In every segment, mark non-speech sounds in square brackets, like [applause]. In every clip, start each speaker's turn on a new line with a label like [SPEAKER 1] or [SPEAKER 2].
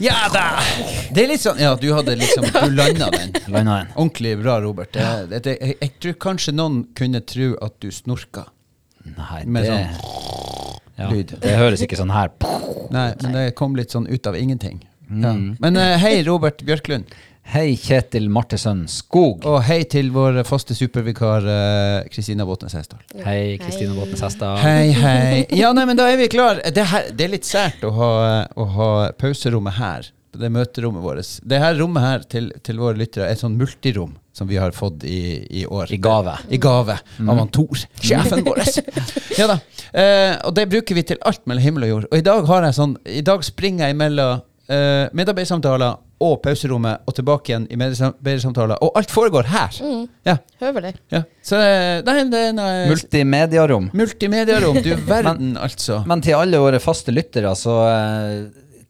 [SPEAKER 1] Ja da! Det er litt sånn ja, du hadde liksom Du landa
[SPEAKER 2] [laughs]
[SPEAKER 1] den.
[SPEAKER 2] Landa den.
[SPEAKER 1] Ordentlig bra, Robert. Det, det, jeg, jeg tror kanskje noen kunne tro at du snorka.
[SPEAKER 2] Nei,
[SPEAKER 1] Med sånn
[SPEAKER 2] det, ja,
[SPEAKER 1] lyd.
[SPEAKER 2] det høres ikke sånn her.
[SPEAKER 1] Nei, men det kom litt sånn ut av ingenting.
[SPEAKER 2] Mm.
[SPEAKER 1] Ja. Men eh, hei, Robert Bjørklund.
[SPEAKER 2] Hei, Kjetil Martesønn Skog.
[SPEAKER 1] Og hei til vår faste supervikar eh, Kristina Båtnes Hesdal.
[SPEAKER 2] Hei, Kristine
[SPEAKER 3] Hei.
[SPEAKER 2] Båtnes Hestad.
[SPEAKER 1] Hei, hei. Ja, nei, men da er vi klar. Det, her, det er litt sært å ha, eh, å ha pauserommet her. på Det møterommet vårt. Det her rommet her til, til våre lyttere er et sånn multirom som vi har fått i, i år.
[SPEAKER 2] I gave.
[SPEAKER 1] I gave av han Tor, sjefen vår. Ja da. Eh, og det bruker vi til alt mellom himmel og jord. Og i dag, har jeg sånn, i dag springer jeg mellom eh, medarbeidersamtaler og pauserommet og tilbake igjen i medarbeidersamtaler. Og alt foregår her! Ja,
[SPEAKER 3] Høver
[SPEAKER 1] [laughs]
[SPEAKER 3] [laughs] det.
[SPEAKER 1] ja. Så eh, nei, det er nei,
[SPEAKER 2] Multimediarom.
[SPEAKER 1] Multimediarom, du verden, altså.
[SPEAKER 2] Men til alle våre faste lyttere, så eh,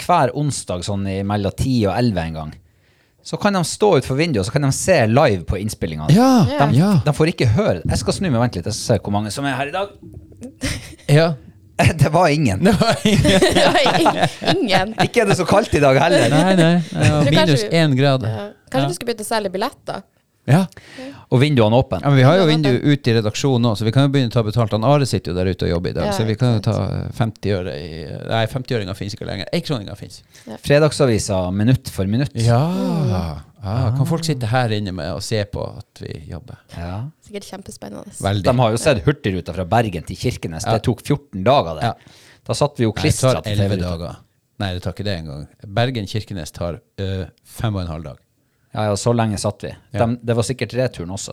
[SPEAKER 2] hver onsdag sånn i mellom 10 og 11 en gang, så kan de stå utenfor vinduet, så kan de se live på innspillinga.
[SPEAKER 1] Ja,
[SPEAKER 3] Ja.
[SPEAKER 2] De,
[SPEAKER 1] ja.
[SPEAKER 2] de får ikke høre. Jeg skal snu meg, vent litt, jeg skal se hvor mange som er her i dag. [laughs]
[SPEAKER 1] ja. [laughs]
[SPEAKER 2] Det var ingen.
[SPEAKER 1] Nei,
[SPEAKER 3] Ingen.
[SPEAKER 2] Ikke er det så kaldt i dag heller.
[SPEAKER 1] nei. nei. Ja,
[SPEAKER 3] Tror kanskje
[SPEAKER 1] minus
[SPEAKER 3] vi-
[SPEAKER 1] én grad.
[SPEAKER 3] Ja. Kanskje du skulle begynne å selge billetter?
[SPEAKER 1] Ja.
[SPEAKER 2] Og vinduene åpne.
[SPEAKER 1] ja, Men vi har jo vinduet ut i redaksjonen òg, så vi kan jo begynne å ta betalt. Han Are sitter jo der ute og jobber i dag,
[SPEAKER 3] Ja,
[SPEAKER 1] så vi kan jo ta 50 øre i Nei, 50-øringa fins ikke lenger. Énkroninga fins.
[SPEAKER 2] Fredagsavisa minutt for minutt.
[SPEAKER 1] Ja. Ah, kan folk sitte her inne med og se på at vi jobber?
[SPEAKER 2] Ja.
[SPEAKER 3] Sikkert kjempespennende.
[SPEAKER 1] Veldig.
[SPEAKER 2] De har jo sett Hurtigruta fra Bergen til Kirkenes. Det tok 14 dager, det.
[SPEAKER 1] Ja.
[SPEAKER 2] Da satt vi jo
[SPEAKER 1] Nei, det
[SPEAKER 2] klistra
[SPEAKER 1] tar
[SPEAKER 2] til
[SPEAKER 1] 11
[SPEAKER 2] TV-ruta.
[SPEAKER 1] dager. Nei, det tar ikke det engang. Bergen-Kirkenes tar øh, fem og en halv dag.
[SPEAKER 2] Ja, ja, så lenge satt vi.
[SPEAKER 1] Ja.
[SPEAKER 2] Dem- det var sikkert returen også.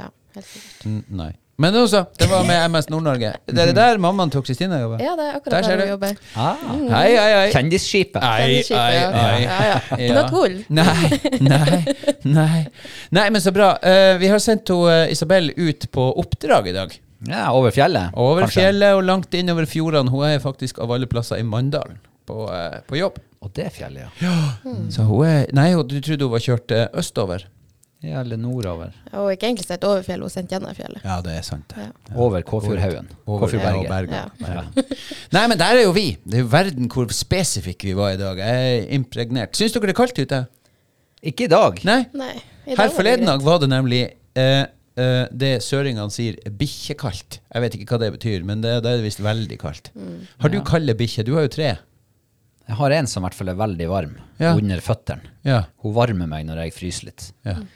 [SPEAKER 3] Ja, helt sikkert.
[SPEAKER 1] Mm, Nei. Men også, det var med MS Nord-Norge. Det er der mammaen til Kristina jobber.
[SPEAKER 3] Ja, det er
[SPEAKER 1] Der
[SPEAKER 3] akkurat
[SPEAKER 1] ser
[SPEAKER 3] der,
[SPEAKER 1] du.
[SPEAKER 3] vi jobber.
[SPEAKER 1] Hei, hei, hei.
[SPEAKER 2] Kjendisskipet.
[SPEAKER 1] Nei,
[SPEAKER 3] Kjendisskipet,
[SPEAKER 1] nei,
[SPEAKER 3] ja.
[SPEAKER 1] nei. [laughs]
[SPEAKER 3] Ja, ja. Ikke noe tull.
[SPEAKER 1] Nei, nei, nei. Nei, men så bra. Eh, vi har sendt ho, eh, Isabel ut på oppdrag i dag.
[SPEAKER 2] Ja, over fjellet.
[SPEAKER 1] Over
[SPEAKER 2] kanskje.
[SPEAKER 1] fjellet og langt innover fjordene. Hun er faktisk av alle plasser i Mandalen på, eh, på jobb.
[SPEAKER 2] Og det fjellet, ja.
[SPEAKER 3] Hmm.
[SPEAKER 1] Så hun er Nei, hun- du trodde hun var kjørt eh, østover?
[SPEAKER 2] ja. Eller nordover.
[SPEAKER 3] Og ikke egentlig sett over fjellet, hun sendte gjennom fjellet.
[SPEAKER 1] Ja, det er sant. det.
[SPEAKER 3] Ja.
[SPEAKER 2] Over Kåfjordhaugen.
[SPEAKER 1] Over
[SPEAKER 2] Kåfjordberget.
[SPEAKER 1] ja, Bergen.
[SPEAKER 2] Ja.
[SPEAKER 1] Nei, men der er jo vi. Det er jo verden hvor spesifikke vi var i dag. Jeg er impregnert. Syns dere det er kaldt ute?
[SPEAKER 2] Ikke i dag.
[SPEAKER 1] Nei?
[SPEAKER 3] Nei. i dag var
[SPEAKER 1] Her
[SPEAKER 3] det
[SPEAKER 1] forleden
[SPEAKER 3] greit.
[SPEAKER 1] dag var det nemlig eh, eh, det søringene sier bikkjekaldt. Jeg vet ikke hva det betyr, men det, det er visst veldig kaldt.
[SPEAKER 3] Mm.
[SPEAKER 1] Har du kalde bikkjer? Du har jo tre.
[SPEAKER 2] Jeg har en som i hvert fall er veldig varm
[SPEAKER 1] Ja.
[SPEAKER 2] under føttene.
[SPEAKER 1] Ja.
[SPEAKER 2] Hun varmer meg når jeg fryser litt.
[SPEAKER 1] Ja.
[SPEAKER 3] Mm.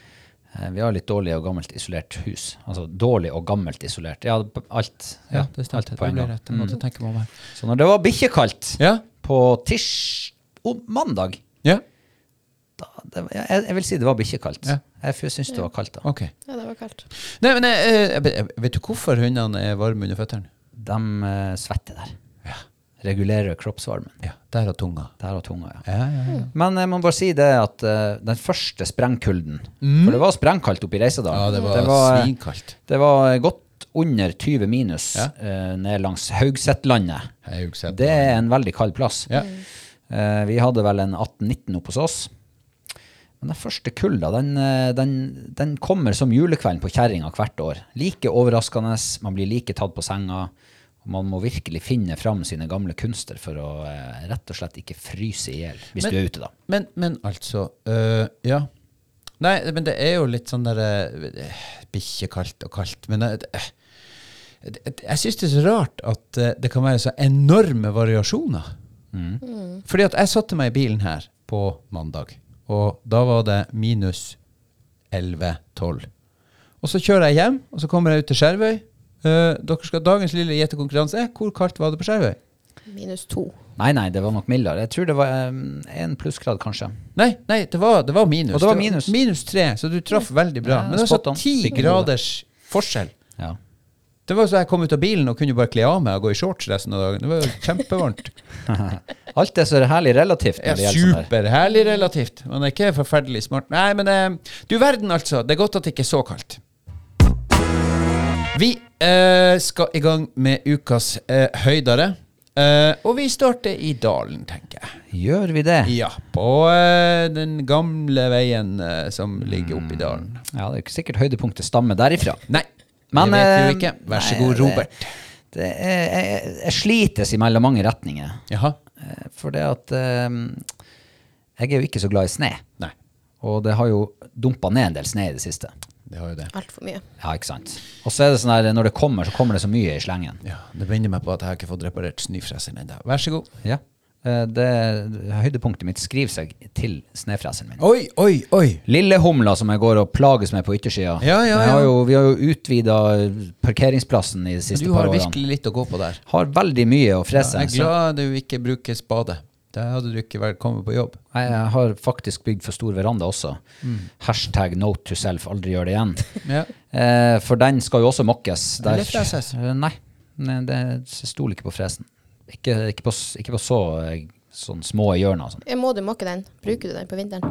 [SPEAKER 2] Eh, Vi har litt dårlig og gammelt isolert hus. Altså dårlig og gammelt isolert. Ja, b- alt.
[SPEAKER 1] ja det
[SPEAKER 2] alt
[SPEAKER 1] stemte.
[SPEAKER 2] på
[SPEAKER 1] Det
[SPEAKER 2] en
[SPEAKER 1] ble
[SPEAKER 2] gang.
[SPEAKER 1] rett. Jeg
[SPEAKER 3] Mm.
[SPEAKER 1] måtte tenke meg om her.
[SPEAKER 2] Så når det var bikkjekaldt
[SPEAKER 1] Ja.
[SPEAKER 2] på tirs... Oh, mandag
[SPEAKER 1] Ja.
[SPEAKER 2] da, det, var- jeg, jeg vil si det var bikkjekaldt.
[SPEAKER 1] Ja.
[SPEAKER 2] Jeg f- syns det var kaldt da.
[SPEAKER 1] Ok.
[SPEAKER 3] Ja, det var kaldt.
[SPEAKER 1] Nei, men eh, eh, vet du hvorfor hundene er varme under føttene?
[SPEAKER 2] De eh, svetter der. Regulerer kroppsvarmen.
[SPEAKER 1] Ja, der og tunga.
[SPEAKER 2] Der og tunga, ja.
[SPEAKER 1] Ja, ja,
[SPEAKER 3] Mm.
[SPEAKER 1] ja.
[SPEAKER 2] Men jeg må bare si det at eh, den første sprengkulden For det var sprengkaldt oppe i Reisadalen.
[SPEAKER 1] Mm. Ja, det var, svinkaldt.
[SPEAKER 2] Det var godt under 20 minus
[SPEAKER 1] Ja.
[SPEAKER 2] eh, ned langs Haugsetlandet.
[SPEAKER 1] Jeg har jo ikke sett
[SPEAKER 2] Det er en veldig kald plass.
[SPEAKER 1] Ja.
[SPEAKER 2] Eh, vi hadde vel en 18-19 oppe hos oss. Men den første kulda den, eh, den, den kommer som julekvelden på kjerringa hvert år. Like overraskende, man blir like tatt på senga. og Man må virkelig finne fram sine gamle kunster for å eh, rett og slett ikke fryse i hjel hvis
[SPEAKER 1] Men-
[SPEAKER 2] du er ute, da.
[SPEAKER 1] Men, men altså øh, Ja. Nei, men det er jo litt sånn der øh, Bikkjekaldt og kaldt. Men jeg, øh, det- jeg syns det er så rart at øh, det kan være så enorme variasjoner.
[SPEAKER 2] Mm.
[SPEAKER 1] Fordi at jeg satte meg i bilen her på mandag, og da var det minus 11-12. Og så kjører jeg hjem, og så kommer jeg ut til Skjervøy. Eh, dere skal dagens lille gjetekonkurranse. er, Hvor kaldt var det på Skjervøy?
[SPEAKER 3] Minus to.
[SPEAKER 2] Nei, nei, det var nok mildere. Jeg tror det var én plussgrad, kanskje.
[SPEAKER 1] Nei, nei det, var, det var minus.
[SPEAKER 2] Og det var minus.
[SPEAKER 1] tre, så du traff veldig bra.
[SPEAKER 2] Ja,
[SPEAKER 1] Men det var
[SPEAKER 2] spot
[SPEAKER 1] så
[SPEAKER 2] on.
[SPEAKER 1] ti
[SPEAKER 2] Fikk en gode.
[SPEAKER 1] graders forskjell.
[SPEAKER 2] Ja.
[SPEAKER 1] Det var jo så jeg kom ut av bilen og kunne bare kle av meg og gå i shorts resten av dagen. Det var jo
[SPEAKER 2] [laughs]
[SPEAKER 1] kjempevarmt.
[SPEAKER 2] Alt er så herlig relativt.
[SPEAKER 1] Ja,
[SPEAKER 2] når det gjelder sånn her.
[SPEAKER 1] Superherlig relativt. Men det er ikke forferdelig smart. Nei, men eh, du verden, altså. Det er godt at det ikke er så kaldt. Vi eh, skal i gang med ukas eh, høydere. Eh, og vi starter i dalen, tenker jeg.
[SPEAKER 2] Gjør vi det?
[SPEAKER 1] Ja, på eh, den gamle veien eh, som ligger
[SPEAKER 2] Mm.
[SPEAKER 1] oppe i dalen.
[SPEAKER 2] Ja, det er ikke sikkert høydepunktet stammer derifra.
[SPEAKER 1] Nei,
[SPEAKER 2] Men,
[SPEAKER 1] det vet vi
[SPEAKER 2] eh,
[SPEAKER 1] jo ikke. Vær så
[SPEAKER 2] nei,
[SPEAKER 1] god,
[SPEAKER 2] det-
[SPEAKER 1] Robert.
[SPEAKER 2] Det er, jeg, jeg slites imellom mange retninger.
[SPEAKER 1] Jaha?
[SPEAKER 2] Eh, For det at eh, Jeg er jo ikke så glad i snø.
[SPEAKER 1] Nei,
[SPEAKER 2] Og det har jo dumpa ned en del snø i det siste.
[SPEAKER 1] det har jo det.
[SPEAKER 3] Altfor mye.
[SPEAKER 2] Ja, ikke sant? Og så er det sånn her, når det kommer, så kommer det så mye i slengen.
[SPEAKER 1] Ja, Det minner meg på at jeg har ikke fått reparert snøfreseren ennå. Vær så god.
[SPEAKER 2] Ja. Eh, Det, høydepunktet mitt skriver seg til snøfreseren min.
[SPEAKER 1] Oi, oi, oi!
[SPEAKER 2] Lille humla som jeg går og plages med på yttersida.
[SPEAKER 1] Ja, ja,
[SPEAKER 2] Jeg
[SPEAKER 1] ja.
[SPEAKER 2] Har jo, vi har jo utvida parkeringsplassen i de
[SPEAKER 1] Men
[SPEAKER 2] siste
[SPEAKER 1] du
[SPEAKER 2] par
[SPEAKER 1] har
[SPEAKER 2] årene.
[SPEAKER 1] virkelig litt å gå på der.
[SPEAKER 2] Har veldig mye å frese.
[SPEAKER 1] Jeg er
[SPEAKER 2] så
[SPEAKER 1] glad du ikke bruker spade. Da hadde du ikke vært kommet på jobb.
[SPEAKER 2] jeg, jeg har faktisk bygd for stor veranda også. Hashtag note to self, aldri gjør det igjen. [laughs]
[SPEAKER 1] Ja.
[SPEAKER 2] Eh, for den skal jo også mokkes. der-
[SPEAKER 1] Eller freses.
[SPEAKER 2] Eh, Nei, nei det, jeg stoler ikke på fresen. Ikke, ikke, på, s- ikke på så eh, sånn små hjørner og sånn.
[SPEAKER 3] Eh, Må du måke den? Bruker du den på vinteren?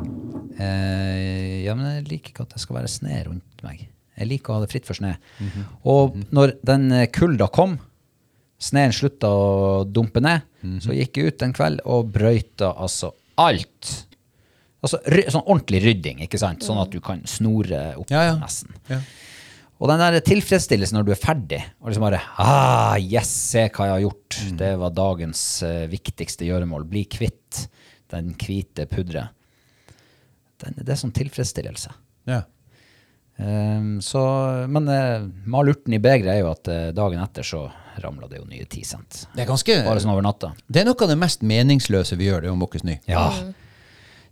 [SPEAKER 2] Eh, ja, men jeg liker ikke at det skal være snø rundt meg. Jeg liker å ha det fritt for snø.
[SPEAKER 1] Mhm.
[SPEAKER 2] Og når den eh, kulda kom, snøen slutta å dumpe ned,
[SPEAKER 1] Mhm.
[SPEAKER 2] så gikk jeg ut en kveld og brøyta altså alt. Altså ry sånn ordentlig rydding, ikke sant? Sånn at du kan snore opp
[SPEAKER 1] Ja, ja.
[SPEAKER 2] nesten.
[SPEAKER 1] Ja.
[SPEAKER 2] Og den der tilfredsstillelsen når du er ferdig, og liksom bare ah, Yes, se hva jeg har gjort. Det var dagens eh, viktigste gjøremål. Bli kvitt den hvite pudderet. Den, det er sånn tilfredsstillelse.
[SPEAKER 1] ja.
[SPEAKER 2] Ehm, så, men uh, malurten i begeret er jo at eh, dagen etter så ramla det jo nye 10 cent.
[SPEAKER 1] Det er ganske
[SPEAKER 2] Bare sånn over natta.
[SPEAKER 1] Det er noe av det mest meningsløse vi gjør, det er å måke snø.
[SPEAKER 2] Ja.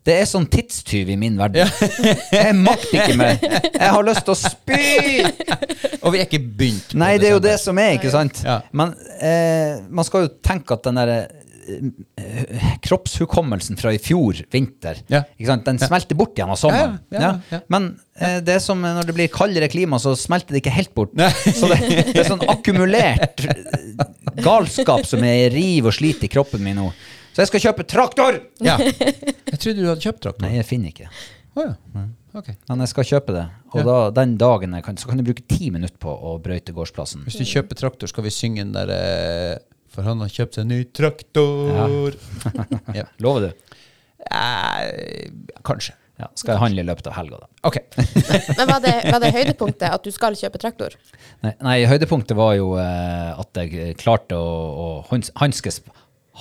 [SPEAKER 2] Det er sånn tidstyv i min verden. jeg makter ikke mer. Jeg har lyst til å spy!
[SPEAKER 1] Og vi er ikke begynt. på
[SPEAKER 2] Nei, det er jo det
[SPEAKER 1] sånn.
[SPEAKER 2] som er, ikke sant?
[SPEAKER 1] Ja.
[SPEAKER 2] Men eh, man skal jo tenke at den der eh, kroppshukommelsen fra i fjor vinter,
[SPEAKER 1] Ja.
[SPEAKER 2] ikke sant? den smelter bort igjen av sommeren.
[SPEAKER 1] Ja, ja, ja, ja.
[SPEAKER 2] Men eh, det er som når det blir kaldere klima, så smelter det ikke helt bort.
[SPEAKER 1] Nei.
[SPEAKER 2] Så det, det er sånn akkumulert eh, galskap som jeg river og sliter i kroppen min nå. Så jeg skal kjøpe traktor!
[SPEAKER 1] Ja. Jeg trodde du hadde kjøpt traktor.
[SPEAKER 2] Nei, jeg finner ikke.
[SPEAKER 1] Å ja. Ok.
[SPEAKER 2] Men jeg skal kjøpe det. Og
[SPEAKER 1] Ja.
[SPEAKER 2] da, den dagen jeg kan, så kan jeg bruke ti minutter på å brøyte gårdsplassen.
[SPEAKER 1] Hvis du kjøper traktor, skal vi synge den der eh, For han har kjøpt seg ny traktor. Ja.
[SPEAKER 2] Lover du?
[SPEAKER 1] Eh, kanskje.
[SPEAKER 2] Ja, skal jeg handle i løpet av helga, da.
[SPEAKER 1] [laughs] OK.
[SPEAKER 3] Men var det, var det høydepunktet at du skal kjøpe traktor?
[SPEAKER 2] Nei, nei, høydepunktet var jo eh, at jeg klarte å, å hans, hanskes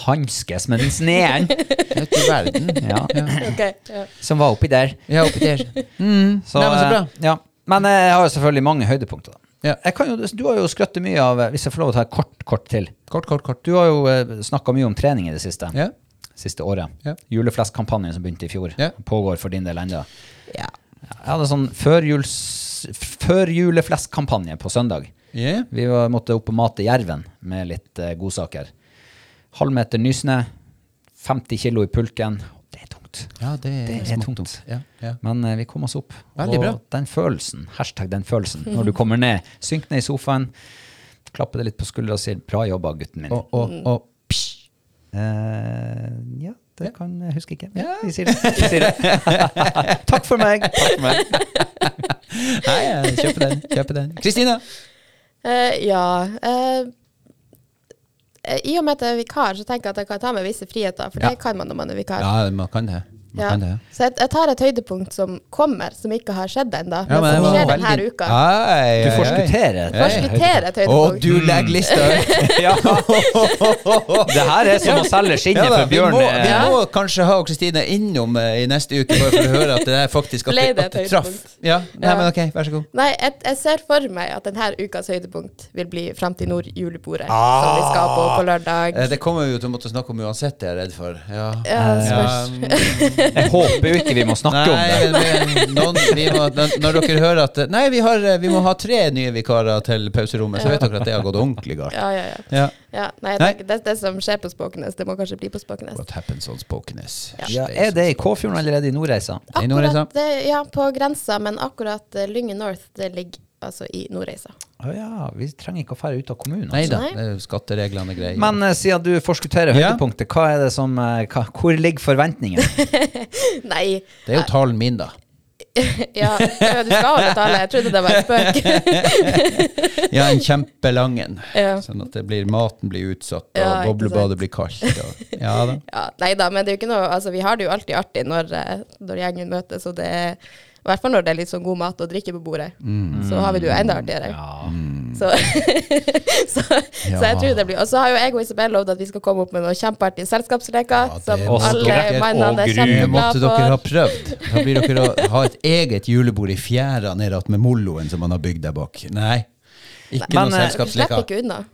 [SPEAKER 2] Hanskes med den
[SPEAKER 1] [laughs]
[SPEAKER 2] sneen
[SPEAKER 1] Ute i verden.
[SPEAKER 2] ja,
[SPEAKER 3] Ok, ja.
[SPEAKER 2] som var oppi der.
[SPEAKER 1] Ja, oppi der. Mm. Nei, men så bra.
[SPEAKER 2] eh, ja. men eh, jeg har jo selvfølgelig mange høydepunkter. Da.
[SPEAKER 1] Ja.
[SPEAKER 2] Jeg kan jo, du har jo skrøttet mye av eh, Hvis jeg får lov å ta et kort kort til.
[SPEAKER 1] Kort, kort, kort.
[SPEAKER 2] Du har jo snakka mye om trening i det siste.
[SPEAKER 1] eh, Ja.
[SPEAKER 2] Siste året.
[SPEAKER 1] Ja.
[SPEAKER 2] Juleflestkampanjen som begynte i fjor,
[SPEAKER 1] Ja.
[SPEAKER 2] pågår for din del ennå.
[SPEAKER 1] Ja.
[SPEAKER 2] Jeg hadde sånn førjuls, førjuleflestkampanje på søndag.
[SPEAKER 1] Yeah.
[SPEAKER 2] Vi var, måtte opp og mate jerven med litt eh, godsaker. Halv meter nysnø, 50 kilo i pulken. Det er tungt.
[SPEAKER 1] ja, det er,
[SPEAKER 2] Det er
[SPEAKER 1] smått
[SPEAKER 2] tungt.
[SPEAKER 1] Ja, ja.
[SPEAKER 2] Men eh, vi kom oss opp.
[SPEAKER 1] Veldig bra.
[SPEAKER 2] Og den følelsen, hashtag den
[SPEAKER 1] [laughs]
[SPEAKER 2] følelsen, når du kommer ned, synk ned i sofaen, klapper deg litt på skuldra og sier 'bra jobba, gutten min'.
[SPEAKER 1] Og, og, og psh.
[SPEAKER 2] Eh, ja, det kan jeg huske ikke. Ja, vi sier det. Vi sier det.
[SPEAKER 1] [laughs]
[SPEAKER 2] Takk for meg. Takk for meg.
[SPEAKER 1] Nei, jeg kjøper den. Kjøper den. Kristina!
[SPEAKER 3] Eh, ja. eh, eh, I og med at jeg er vikar, så tenker jeg at jeg kan ta meg visse friheter, for
[SPEAKER 1] Ja.
[SPEAKER 3] det kan man når man er vikar.
[SPEAKER 1] Ja, man kan det. Man
[SPEAKER 3] Ja.
[SPEAKER 1] kan det.
[SPEAKER 3] Så jeg, jeg tar et høydepunkt som kommer, som ikke har skjedd ennå,
[SPEAKER 1] Ja,
[SPEAKER 3] men,
[SPEAKER 1] det
[SPEAKER 3] som
[SPEAKER 1] var
[SPEAKER 3] skjer
[SPEAKER 1] veldig-
[SPEAKER 3] denne uka.
[SPEAKER 1] Ai,
[SPEAKER 2] Du
[SPEAKER 1] ai, ai.
[SPEAKER 2] forskutterer.
[SPEAKER 1] Ja, ja.
[SPEAKER 3] Forskutterer et
[SPEAKER 1] Og
[SPEAKER 3] høydepunkt.
[SPEAKER 1] du legger lista ut. [laughs]
[SPEAKER 2] Ja. Det her er som å selge
[SPEAKER 1] Ja,
[SPEAKER 2] skinnet
[SPEAKER 1] da,
[SPEAKER 2] for
[SPEAKER 1] vi,
[SPEAKER 2] bjørn.
[SPEAKER 1] må,
[SPEAKER 2] eh,
[SPEAKER 1] vi må kanskje ha Kristine innom eh, i neste uke, bare for å høre at det er faktisk at,
[SPEAKER 3] Ble det
[SPEAKER 1] det,
[SPEAKER 3] et
[SPEAKER 1] at det traff.
[SPEAKER 3] høydepunkt?
[SPEAKER 1] Ja, nei,
[SPEAKER 3] Ja.
[SPEAKER 1] men ok, vær så god.
[SPEAKER 3] Nei, jeg, jeg ser for meg at denne ukas høydepunkt vil bli Fram til nord julebordet, som vi skal på på lørdag.
[SPEAKER 1] Eh, Det kommer vi jo til å måtte snakke om uansett, det er jeg redd for. Ja. Eh,
[SPEAKER 3] Ja, spørs. [laughs]
[SPEAKER 2] Jeg håper jo ikke vi må snakke om det.
[SPEAKER 1] Nei, men noen, vi må, når når dere hører at eh, Nei, vi, har, eh, vi må ha tre nye vikarer til pauserommet, så vet dere at det har gått ordentlig galt.
[SPEAKER 3] Ja, ja,
[SPEAKER 1] Ja.
[SPEAKER 3] ja. ja nei, jeg
[SPEAKER 1] Nei.
[SPEAKER 3] tenker, det, det som skjer på Spåkenes, det må kanskje bli på Spåkenes.
[SPEAKER 1] What happens on Spokenes?
[SPEAKER 2] Ja, er det i K-fjorden allerede i Nordreisa?
[SPEAKER 1] I Nordreisa.
[SPEAKER 3] Akkurat, det, ja, på grensa, men akkurat eh, Lyngen North, det ligger altså i Nordreisa. [laughs]
[SPEAKER 2] Å ja, vi trenger ikke å fære ut av kommunen.
[SPEAKER 1] Nei
[SPEAKER 2] Altså.
[SPEAKER 1] da,
[SPEAKER 3] Nei.
[SPEAKER 1] skattereglene og greier.
[SPEAKER 2] Men eh, siden du forskutterer
[SPEAKER 1] Ja.
[SPEAKER 2] høydepunktet, hva er det som, eh, hva, hvor ligger forventningen?
[SPEAKER 3] Nei,
[SPEAKER 1] det er jo talen min, da.
[SPEAKER 3] ja, ja, du skal jo betale. Jeg trodde det var en spøk.
[SPEAKER 1] Ja, en kjempelang en.
[SPEAKER 3] Ja.
[SPEAKER 1] Sånn at det blir, maten blir utsatt, og
[SPEAKER 3] Ja, ikke
[SPEAKER 1] boblebadet blir kaldt. Og, ja da.
[SPEAKER 3] Ja, nei da, men det er jo ikke noe Altså, vi har det jo alltid artig når, eh, når gjengen møtes, og det er I hvert fall når det er litt sånn god mat og drikke på bordet.
[SPEAKER 1] Mm.
[SPEAKER 3] Så har vi det jo enda artigere.
[SPEAKER 2] Ja.
[SPEAKER 3] Så, [laughs] så, så jeg tror det blir Og så har jo jeg og Isabel lovd at vi skal komme opp med noen kjempeartige selskapsleker
[SPEAKER 1] Ja, det
[SPEAKER 3] som
[SPEAKER 1] må
[SPEAKER 3] alle
[SPEAKER 1] dere-
[SPEAKER 3] mannene
[SPEAKER 2] og
[SPEAKER 3] er
[SPEAKER 2] gru.
[SPEAKER 1] Det Eh, måtte
[SPEAKER 3] kjempeglade
[SPEAKER 1] dere ha
[SPEAKER 3] for.
[SPEAKER 1] prøvd. Da blir dere å ha et eget julebord i fjæra nede att med moloen som man har bygd der bak. Nei, ikke
[SPEAKER 2] Men,
[SPEAKER 1] noe
[SPEAKER 2] eh,
[SPEAKER 3] Vi slipper
[SPEAKER 1] selskapsleker.
[SPEAKER 3] ikke unna.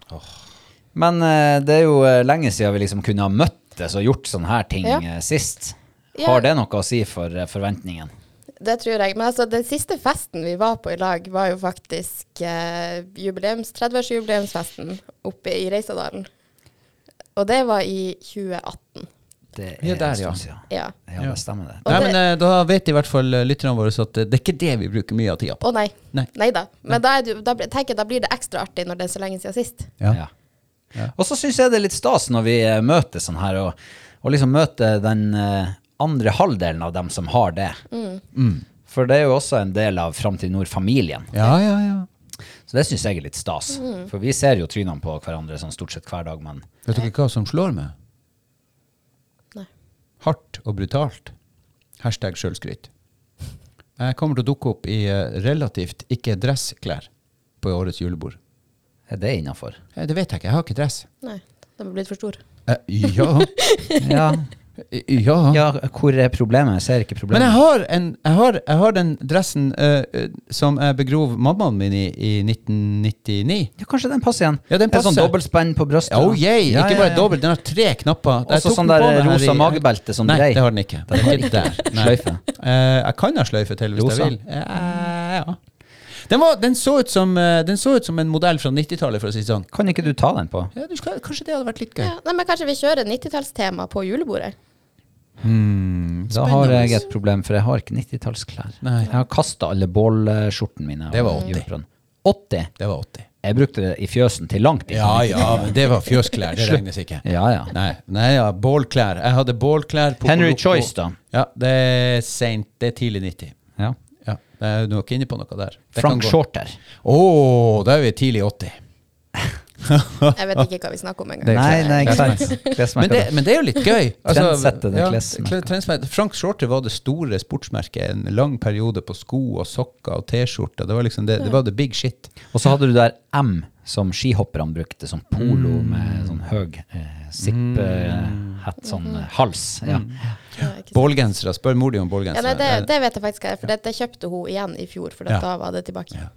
[SPEAKER 2] Men eh, det er jo eh, lenge siden vi liksom kunne ha møttes og gjort sånne her ting
[SPEAKER 3] Ja.
[SPEAKER 2] eh, sist.
[SPEAKER 3] Ja.
[SPEAKER 2] Har det noe å si for eh, forventningen?
[SPEAKER 3] Det tror jeg. Men altså, den siste festen vi var på i lag, var jo faktisk eh, jubileums, 30-årsjubileumsfesten oppe i Reisadalen. Og det var i 2018.
[SPEAKER 2] Det
[SPEAKER 1] Ja, der,
[SPEAKER 2] en
[SPEAKER 1] ja.
[SPEAKER 2] stund siden.
[SPEAKER 3] Ja.
[SPEAKER 2] Ja, det stemmer det.
[SPEAKER 3] Og
[SPEAKER 1] Nei,
[SPEAKER 3] det-
[SPEAKER 1] men eh, Da vet i hvert fall eh, lytterne våre at eh, det er ikke det vi bruker mye av tida på.
[SPEAKER 3] Å nei.
[SPEAKER 1] Nei.
[SPEAKER 3] da. Men da, er du, da, blir- tenker jeg, da blir det ekstra artig når det er så lenge siden sist.
[SPEAKER 1] Ja.
[SPEAKER 2] Ja. Og så syns jeg det er litt stas når vi eh, møtes sånn her, og, og liksom møter den eh, andre halvdelen av dem som har det. Mm. For det er jo også en del av Framtid Nord-familien.
[SPEAKER 1] Ja, ja, ja.
[SPEAKER 2] Så det syns jeg er litt stas. For vi ser jo trynene på hverandre sånn stort sett hver dag, men
[SPEAKER 1] Vet dere hva som slår meg?
[SPEAKER 3] Nei.
[SPEAKER 1] Hardt og brutalt. Hashtag sjølskryt. Jeg kommer til å dukke opp i eh, relativt ikke dressklær på årets julebord.
[SPEAKER 2] er det innafor?
[SPEAKER 1] Eh, Det vet jeg ikke, jeg har ikke dress.
[SPEAKER 3] Nei. Den er blitt for stor.
[SPEAKER 1] Eh, Ja. Eh,
[SPEAKER 2] [laughs] Ja.
[SPEAKER 1] ja.
[SPEAKER 2] ja, hvor er problemet? Jeg ser ikke
[SPEAKER 1] Men jeg
[SPEAKER 2] problemet.
[SPEAKER 1] har, en, jeg har, jeg har den dressen eh, eh, som jeg begrov mammaen min i i 1999.
[SPEAKER 2] Ja, kanskje den passer igjen.
[SPEAKER 1] Ja, den
[SPEAKER 2] Det er sånn
[SPEAKER 1] passer.
[SPEAKER 2] dobbeltspenn på brystet.
[SPEAKER 1] Oh yeah!
[SPEAKER 2] Ja,
[SPEAKER 1] ikke
[SPEAKER 2] ja,
[SPEAKER 1] bare
[SPEAKER 2] ja.
[SPEAKER 1] dobbelt, den har tre knapper. Jeg
[SPEAKER 2] Også
[SPEAKER 1] tok
[SPEAKER 2] sånn
[SPEAKER 1] den på
[SPEAKER 2] der
[SPEAKER 1] meg her
[SPEAKER 2] rosa
[SPEAKER 1] i-
[SPEAKER 2] magebelte som
[SPEAKER 1] Nei,
[SPEAKER 2] brei.
[SPEAKER 1] det har den ikke. Den er ikke der. Nei.
[SPEAKER 2] Sløyfe.
[SPEAKER 1] Eh, jeg kan ha sløyfe til hvis
[SPEAKER 2] Rosa.
[SPEAKER 1] jeg vil. Eh, ja. Den, var, den, så ut som, eh, den så ut som en modell fra 90-tallet, for å si det sånn.
[SPEAKER 2] Kan ikke du ta den på?
[SPEAKER 1] Ja, du skal, kanskje det hadde vært litt gøy.
[SPEAKER 3] Ja. Nei, men kanskje vi kjører 90-tallstema på julebordet?
[SPEAKER 2] Da har jeg et problem, for jeg har ikke 90-tallsklær.
[SPEAKER 1] Nei.
[SPEAKER 2] Jeg har kasta alle bålskjortene mine.
[SPEAKER 1] Det var
[SPEAKER 2] og
[SPEAKER 1] 80.
[SPEAKER 2] julebrønn. 80?
[SPEAKER 1] Det var 80.
[SPEAKER 2] Jeg brukte det i fjøsen til langt inn.
[SPEAKER 1] Ja ja, men det var fjøsklær. Det regnes ikke.
[SPEAKER 2] Ja, ja.
[SPEAKER 1] [laughs] Nei, nei ja, bålklær. Jeg hadde bålklær på
[SPEAKER 2] Henry
[SPEAKER 1] Kolopo.
[SPEAKER 2] Choice, da.
[SPEAKER 1] Ja, det er sent. Det er tidlig 90.
[SPEAKER 2] ja.
[SPEAKER 1] Ja, det er du er ikke inne på noe der. Det
[SPEAKER 2] Frank
[SPEAKER 1] kan gå.
[SPEAKER 2] Shorter.
[SPEAKER 1] Å, da er vi tidlig 80.
[SPEAKER 3] Jeg vet ikke hva vi snakker om engang.
[SPEAKER 2] Nei, nei, ikke
[SPEAKER 1] klesmerke.
[SPEAKER 2] sant.
[SPEAKER 1] Men det,
[SPEAKER 2] Klesmerker.
[SPEAKER 1] men det er jo litt
[SPEAKER 2] [laughs]
[SPEAKER 1] gøy. Altså,
[SPEAKER 2] Trendsetter, det klesmerket.
[SPEAKER 1] kle- trendsetter. Frank Shorter var det store sportsmerket en lang periode på sko og sokker og T-skjorter. Det var liksom det, det var the big shit.
[SPEAKER 2] Og så hadde du der M, som skihopperne brukte, som polo
[SPEAKER 1] Mm.
[SPEAKER 2] med sånn høg eh, zipp-hett, sånn
[SPEAKER 1] Mm.
[SPEAKER 2] eh, hals. Ja.
[SPEAKER 3] Ja, ikke sant.
[SPEAKER 1] Bålgensere. Spør mor di om Eh,
[SPEAKER 3] Ja, nei,
[SPEAKER 1] bålgensere.
[SPEAKER 3] det, det vet jeg faktisk ikke, for det, det kjøpte hun igjen i fjor, for
[SPEAKER 1] Ja.
[SPEAKER 3] da var det tilbake.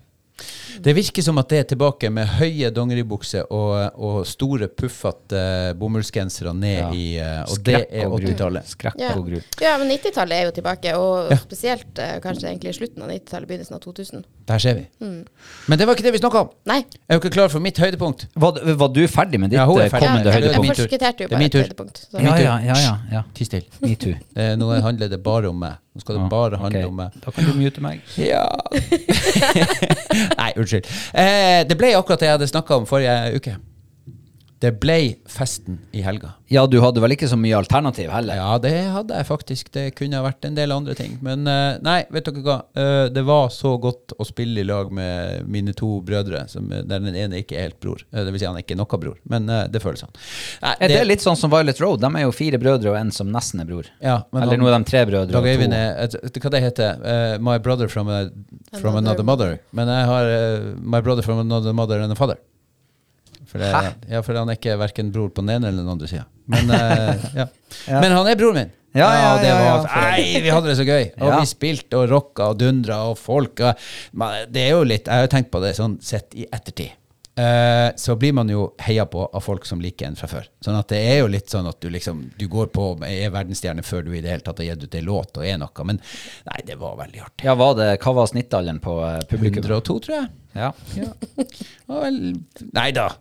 [SPEAKER 1] Det virker som at det er tilbake med høye dongeribukser og, og store, puffete eh, bomullsgensere ned
[SPEAKER 2] Ja.
[SPEAKER 1] i eh, Og det
[SPEAKER 2] Skrekk
[SPEAKER 1] er
[SPEAKER 2] og gru.
[SPEAKER 1] 80-tallet.
[SPEAKER 2] Skrekk
[SPEAKER 3] Ja.
[SPEAKER 2] og gru.
[SPEAKER 3] ja, men 90-tallet er jo tilbake, og
[SPEAKER 1] Ja.
[SPEAKER 3] spesielt eh, kanskje egentlig slutten av 90-tallet, begynnelsen av 2000.
[SPEAKER 1] Der ser vi.
[SPEAKER 3] Mm.
[SPEAKER 1] Men det var ikke det vi snakka om.
[SPEAKER 3] Nei,
[SPEAKER 1] Jeg er jo ikke klar for mitt høydepunkt.
[SPEAKER 2] Var, du- var du ferdig med ditt
[SPEAKER 1] Ja, hun er
[SPEAKER 2] eh,
[SPEAKER 1] ferdig.
[SPEAKER 2] kommende
[SPEAKER 1] Ja,
[SPEAKER 3] jeg,
[SPEAKER 1] det er
[SPEAKER 3] jeg
[SPEAKER 1] min
[SPEAKER 2] høydepunkt?
[SPEAKER 1] tur.
[SPEAKER 3] forskutterte jo
[SPEAKER 1] Det er
[SPEAKER 3] på
[SPEAKER 1] min
[SPEAKER 3] et
[SPEAKER 1] tur.
[SPEAKER 3] høydepunkt. så-
[SPEAKER 2] Ja, ja, ja. ja, ja.
[SPEAKER 1] Ti stille.
[SPEAKER 2] Metoo.
[SPEAKER 1] Eh, Nå handler det bare om meg. Nå skal det bare handle
[SPEAKER 2] Ok,
[SPEAKER 1] om meg.
[SPEAKER 2] Da kan du mute meg.
[SPEAKER 1] Ja [laughs] Nei, unnskyld. Eh, det ble akkurat det jeg hadde snakka om forrige uke. Det ble festen i helga.
[SPEAKER 2] Ja, du hadde vel ikke så mye alternativ heller?
[SPEAKER 1] Ja, det hadde jeg faktisk. Det kunne ha vært en del andre ting. Men eh, nei, vet dere hva. Eh, det var så godt å spille i lag med mine to brødre, som, eh, der den ene ikke er helt bror. Eh, det vil si, han er ikke noe bror, men eh, det føles sånn. Nei,
[SPEAKER 2] Er det litt sånn som Violet Road? De er jo fire brødre og en som nesten er bror.
[SPEAKER 1] Ja, men
[SPEAKER 2] Eller
[SPEAKER 1] han-
[SPEAKER 2] nå er de tre brødre
[SPEAKER 1] Dag
[SPEAKER 2] og
[SPEAKER 1] Øyvind
[SPEAKER 2] to.
[SPEAKER 1] er et- et- Hva det heter eh, My brother from, a, from another
[SPEAKER 3] Another
[SPEAKER 1] mother. Men jeg har eh, My brother from another mother and a father. For det,
[SPEAKER 2] Hæ?
[SPEAKER 1] Ja, for han er ikke hverken bror på den ene eller den andre sida. Men, eh, ja.
[SPEAKER 2] [laughs] Ja.
[SPEAKER 1] Men han er broren min!
[SPEAKER 2] Ja, ja,
[SPEAKER 1] det
[SPEAKER 2] ja,
[SPEAKER 1] var,
[SPEAKER 2] ja.
[SPEAKER 1] Nei, vi hadde det så gøy! Og
[SPEAKER 2] Ja.
[SPEAKER 1] vi spilte og rocka og dundra og folk og, men Det er jo litt Jeg har jo tenkt på det sånn sett i ettertid. Eh, så blir man jo heia på av folk som liker en fra før. Sånn at det er jo litt sånn at du liksom Du går på er verdensstjerne før du i det hele tatt har gitt ut en låt og er noe. Men nei, det var veldig artig.
[SPEAKER 2] Ja, var det, hva var snittalderen på eh, publikum?
[SPEAKER 1] 102, tror jeg.
[SPEAKER 2] Ja.
[SPEAKER 1] [laughs] Ja. Og vel, nei da.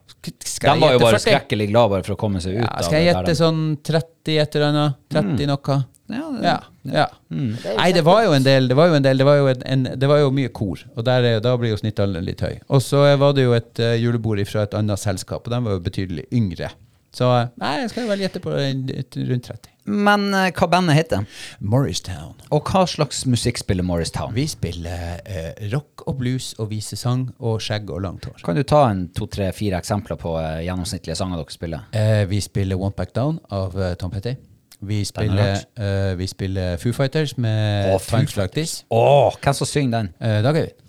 [SPEAKER 1] Skal
[SPEAKER 2] De var jo bare
[SPEAKER 1] 40?
[SPEAKER 2] skrekkelig glad bare for å komme seg ut.
[SPEAKER 1] Ja,
[SPEAKER 2] av
[SPEAKER 1] skal jeg
[SPEAKER 2] det der
[SPEAKER 1] gjette
[SPEAKER 2] de-
[SPEAKER 1] sånn 30 et eller annet? 30 noe?
[SPEAKER 2] Ja, det-
[SPEAKER 1] Ja. ja.
[SPEAKER 3] Det er jo
[SPEAKER 1] Nei, det var jo en del. Det var jo, en del, det var jo, en, en, det var jo mye kor, og der er, da blir jo snittalderen litt høy. Og så var det jo et eh, julebord fra et annet selskap, og de var jo betydelig yngre Så nei, jeg skal vel gjette på rundt 30.
[SPEAKER 2] Men eh, hva bandet heter?
[SPEAKER 1] Morristown.
[SPEAKER 2] Og hva slags musikk spiller Morristown?
[SPEAKER 1] Vi spiller eh, rock og blues og visesang og skjegg og langt hår.
[SPEAKER 2] Kan du ta en to, tre, fire eksempler på eh, gjennomsnittlige sanger dere spiller?
[SPEAKER 1] Eh, vi spiller One Back Down av eh, Tom Petty. Vi spiller, eh, vi spiller Foo Fighters med
[SPEAKER 2] Å, Foo
[SPEAKER 1] Times Like This.
[SPEAKER 2] Åh, hvem som synger den?
[SPEAKER 1] Eh, Dag Øyvind.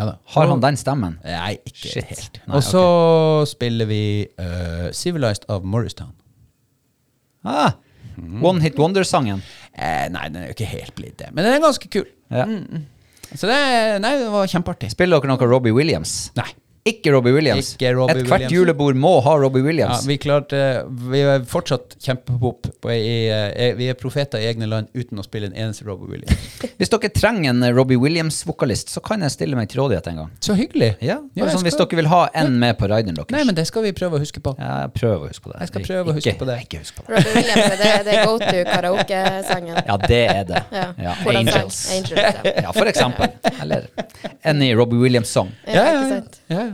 [SPEAKER 1] Ja da.
[SPEAKER 2] Har han den stemmen?
[SPEAKER 1] Nei, ikke
[SPEAKER 2] Shit.
[SPEAKER 1] helt.
[SPEAKER 2] Nei,
[SPEAKER 1] Og så spiller vi eh, Civilized av Morristown.
[SPEAKER 2] Ah, One Hit Wonder-sangen.
[SPEAKER 1] Eh, nei, den er jo ikke helt blitt det, men den er ganske kul. Mm,
[SPEAKER 2] Ja.
[SPEAKER 1] Så det, nei, det var kjempeartig.
[SPEAKER 2] Spiller dere noe Robbie Williams?
[SPEAKER 1] Nei.
[SPEAKER 2] Ikke Robbie Williams.
[SPEAKER 1] Ikke Robbie
[SPEAKER 2] Et hvert
[SPEAKER 1] Williams.
[SPEAKER 2] julebord må ha Robbie
[SPEAKER 1] Ja,
[SPEAKER 2] Williams.
[SPEAKER 1] vi klarte Vi er fortsatt kjempepop. på i, eh, Vi er profeter i egne land uten å spille en eneste Robo Williams.
[SPEAKER 2] Hvis dere trenger en Robbie Williams-vokalist, så kan jeg stille meg til rådighet en gang.
[SPEAKER 1] Så hyggelig. Ja,
[SPEAKER 2] Ja, bare
[SPEAKER 1] jeg
[SPEAKER 2] sånn Hvis
[SPEAKER 1] skal-
[SPEAKER 2] dere vil ha en med på rideren deres.
[SPEAKER 1] Nei, men det skal vi prøve å huske på.
[SPEAKER 2] ja, jeg prøver å huske på det.
[SPEAKER 1] Jeg skal prøve å huske
[SPEAKER 2] ikke,
[SPEAKER 1] på det.
[SPEAKER 2] Ikke husk på det.
[SPEAKER 3] Robbie Williams, det er det go to karaoke-sangen.
[SPEAKER 2] Ja, det er det.
[SPEAKER 3] [laughs] Ja.
[SPEAKER 2] Ja,
[SPEAKER 3] Hvordan sang?
[SPEAKER 2] Angels.
[SPEAKER 3] Angels, ja.
[SPEAKER 2] Ja, for eksempel. Eller any Robbie Williams-sang.
[SPEAKER 3] Ja, ikke sant?
[SPEAKER 1] ja, ja.